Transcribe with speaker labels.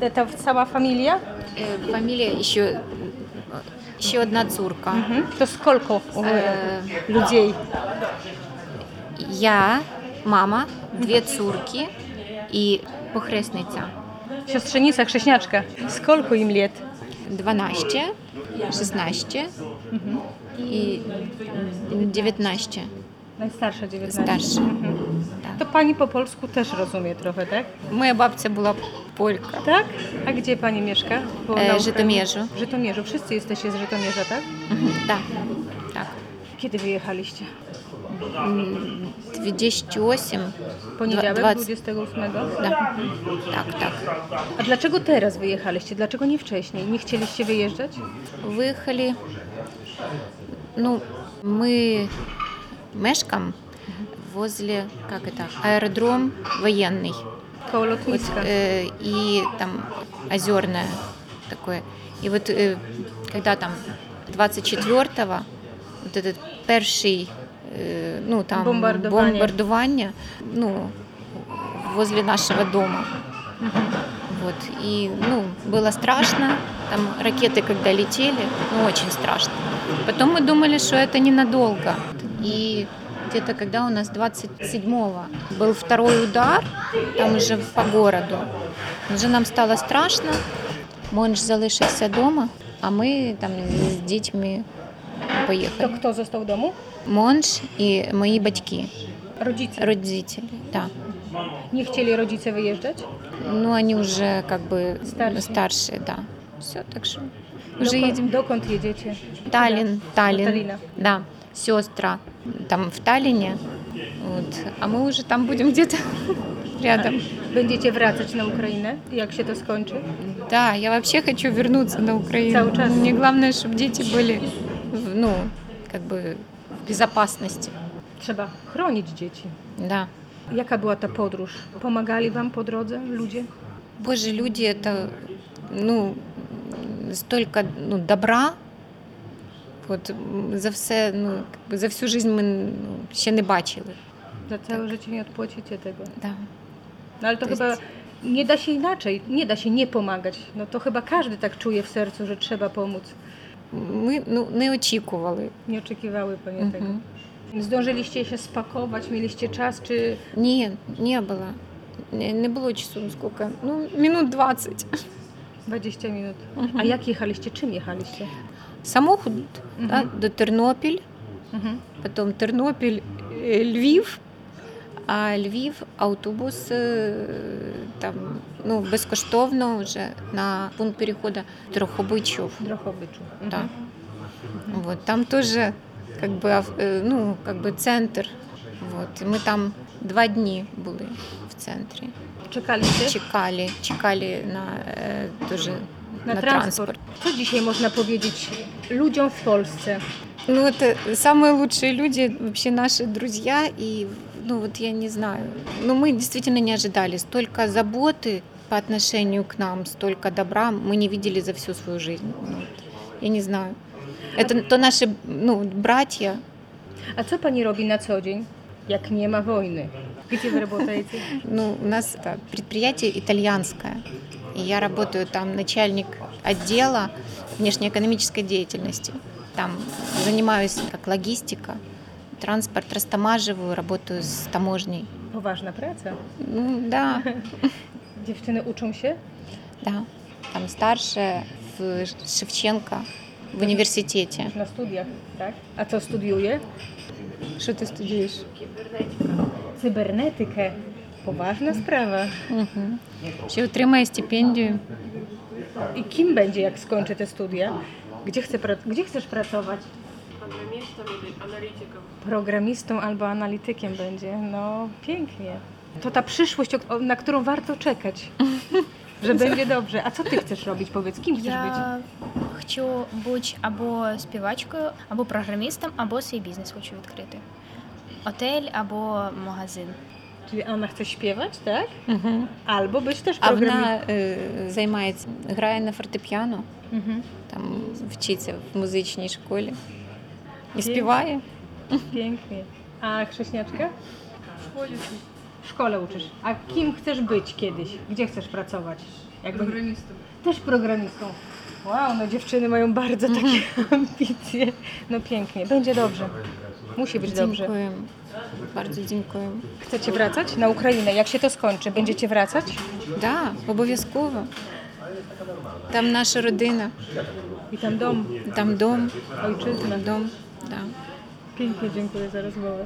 Speaker 1: Это E, cała familia?
Speaker 2: Э, Фамилия еще, еще одна цурка.
Speaker 1: Mhm. e, To сколько
Speaker 2: Э,
Speaker 1: людей?
Speaker 2: Я, мама, две цурки и похресниця.
Speaker 1: Siostrzenica, chrześniaczka. Сколько im lat?
Speaker 2: 12, 16 и 19
Speaker 1: Najstarsza, Tak. 19.
Speaker 2: старше.
Speaker 1: To pani po polsku też rozumie trochę, tak?
Speaker 2: Моя бабця була полька.
Speaker 1: Tak? A gdzie pani mieszka? Po- na
Speaker 2: E,
Speaker 1: Ukrainie?
Speaker 2: Żytomierzu.
Speaker 1: Żytomierzu. Wszyscy jesteście z Żytomierza, tak?
Speaker 2: Мгм, Да. Так.
Speaker 1: Kiedy wyjechaliście?
Speaker 2: М, 28.
Speaker 1: Poniedziałek,
Speaker 2: Dwa- dwac-
Speaker 1: 28?
Speaker 2: Да. Так, так.
Speaker 1: A dlaczego teraz wyjechaliście? Dlaczego nie wcześniej? Nie chcieliście wyjeżdżać?
Speaker 2: Виїхали. Ну, ми мешкам возле, как это, аэродром военный.
Speaker 1: Koło
Speaker 2: Вот,
Speaker 1: lotniska.
Speaker 2: э, и там озерное такое. И вот э, когда там 24-го, вот этот перший, э, ну там
Speaker 1: Бомбардування.
Speaker 2: бомбардування, ну, возле нашего дома. Вот, и, ну, было страшно, там ракеты когда летели, ну, очень страшно. Потом мы думали, что это ненадолго. И где-то когда у нас 27-го был второй удар, там уже по городу, вже нам стало страшно, Монж залишився дома, а ми там з дітьми
Speaker 1: To
Speaker 2: поїхали.
Speaker 1: kto został w domu?
Speaker 2: Монж і мої батьки,
Speaker 1: Rodzice.
Speaker 2: родителі. Да.
Speaker 1: Nie chcieli rodzice wyjeżdżać?
Speaker 2: Ну, вони вже как бы
Speaker 1: Старші.
Speaker 2: старші, да. Все, так що вже
Speaker 1: Dokąd,
Speaker 2: їдемо.
Speaker 1: dokąd jedziecie?
Speaker 2: Талін, Талін.
Speaker 1: Таліна.
Speaker 2: Да. Сестра там в Таллине. Вот. А ми вже там будемо где-то рядом.
Speaker 1: Tak. Będziecie wracać na Ukrainę? Jak się to skończy?
Speaker 2: Да, я вообще хочу вернуться на Украину.
Speaker 1: Це участь.
Speaker 2: Мне главное, чтобы дети были, в- ну, как бы в безопасности.
Speaker 1: Trzeba chronić dzieci.
Speaker 2: Да.
Speaker 1: Jaka była ta podróż? Pomagali wam po drodze ludzie?
Speaker 2: Боже, люди, это, ну, столько ну, добра. От м, за все, ну, как бы за всю жизнь ми ну, ще не бачили.
Speaker 1: Za całe życie nie odpłacicie tego.
Speaker 2: Да.
Speaker 1: No ale Tak. to,
Speaker 2: To jest-
Speaker 1: chyba nie da się inaczej, nie da się nie pomagać. No to chyba każdy tak czuje w sercu, że trzeba pomóc.
Speaker 2: Ми ну, не очікували.
Speaker 1: Nie oczekiwały panie tego.
Speaker 2: Мгм.
Speaker 1: Zdążyliście się spakować, mieliście czas, czy
Speaker 2: Ні, не було. Не, не було часу, скільки? Ну, минут 20.
Speaker 1: 20 minut?
Speaker 2: Мгм.
Speaker 1: A jak jechaliście? Czym jechaliście?
Speaker 2: Самохід да,
Speaker 1: Mhm.
Speaker 2: до Тернопіль.
Speaker 1: Mhm.
Speaker 2: потом Тернопіль, е, Львів. А Львів автобус е, там ну безкоштовно вже на пункт переходу Трохобичів.
Speaker 1: Drochowiczu. Mhm.
Speaker 2: Да. Вот, там теж как бы, ав- е, ну, как бы центр. Вот, і ми там два дні були в центрі.
Speaker 1: Czekaliście
Speaker 2: Чекали, чекали на е, дуже
Speaker 1: na, transport. Co dzisiaj można powiedzieć ludziom w Polsce?
Speaker 2: Ну, это самые лучшие люди, вообще наши друзья, и, ну, вот я не знаю. Ну, мы действительно не ожидали. Столько заботы по отношению к нам, столько добра мы не видели за всю свою жизнь. Ну, вот. Я не знаю. Это то наши, ну, братья.
Speaker 1: A co pani robi na co dzień, jak nie ma wojny? Gdzie wy работаете?
Speaker 2: Ну, у нас это предприятие итальянское. И я работаю там начальник отдела внешнеэкономической деятельности. Там занимаюсь как логистика, транспорт растамаживаю, работаю с таможней.
Speaker 1: Poważna praca.
Speaker 2: Ну, да,
Speaker 1: Dziewczyny uczą się?
Speaker 2: да. Там старшая в Шевченко в университете.
Speaker 1: Na studiach, tak? A co studiuje?
Speaker 2: Что ты студируешь?
Speaker 1: Cybernetykę. Poważna sprawa.
Speaker 2: Угу. Ще отримає стипендію.
Speaker 1: I kim będzie, jak skończy te studia? Gdzie, chce pra- gdzie chcesz pracować?
Speaker 3: программистом или аналитиком.
Speaker 1: Programistą albo analitykiem będzie. No, pięknie. To ta przyszłość, o- o- na którą warto czekać. Że będzie dobrze. A co ty chcesz robić? Powiedz, kim chcesz być?
Speaker 4: Я хочу бути або співачкою, або програмістом, або свій бізнес хочу відкрити. Отель або магазин.
Speaker 1: Czyli ona chce śpiewać, tak?
Speaker 2: Угу.
Speaker 1: Albo być też
Speaker 2: А
Speaker 1: programistą.
Speaker 2: вона е, займається, грає на фортепіано.
Speaker 1: Mhm.
Speaker 2: там вчиться в музичній школі і
Speaker 1: Окей.
Speaker 2: співає.
Speaker 1: Pięknie. A chrześniaczka?
Speaker 3: В школе
Speaker 1: W szkole uczysz. A kim chcesz być kiedyś? Gdzie chcesz pracować? Jakby-
Speaker 3: Програмістом.
Speaker 1: Też programistą. Wow, no dziewczyny mają bardzo takie ambicje. No pięknie, będzie dobrze. Musi być dobrze.
Speaker 2: Дзінкуємо. Bardzo dziękuję.
Speaker 1: Chcecie wracać na Ukrainę? Jak się to skończy? Będziecie wracać?
Speaker 2: Да, обов'язково. Там наша родина,
Speaker 1: I tam dom,
Speaker 2: там дом,
Speaker 1: ojczyzna.
Speaker 2: там дом. Да.
Speaker 1: Pięknie dziękuję za rozmowę.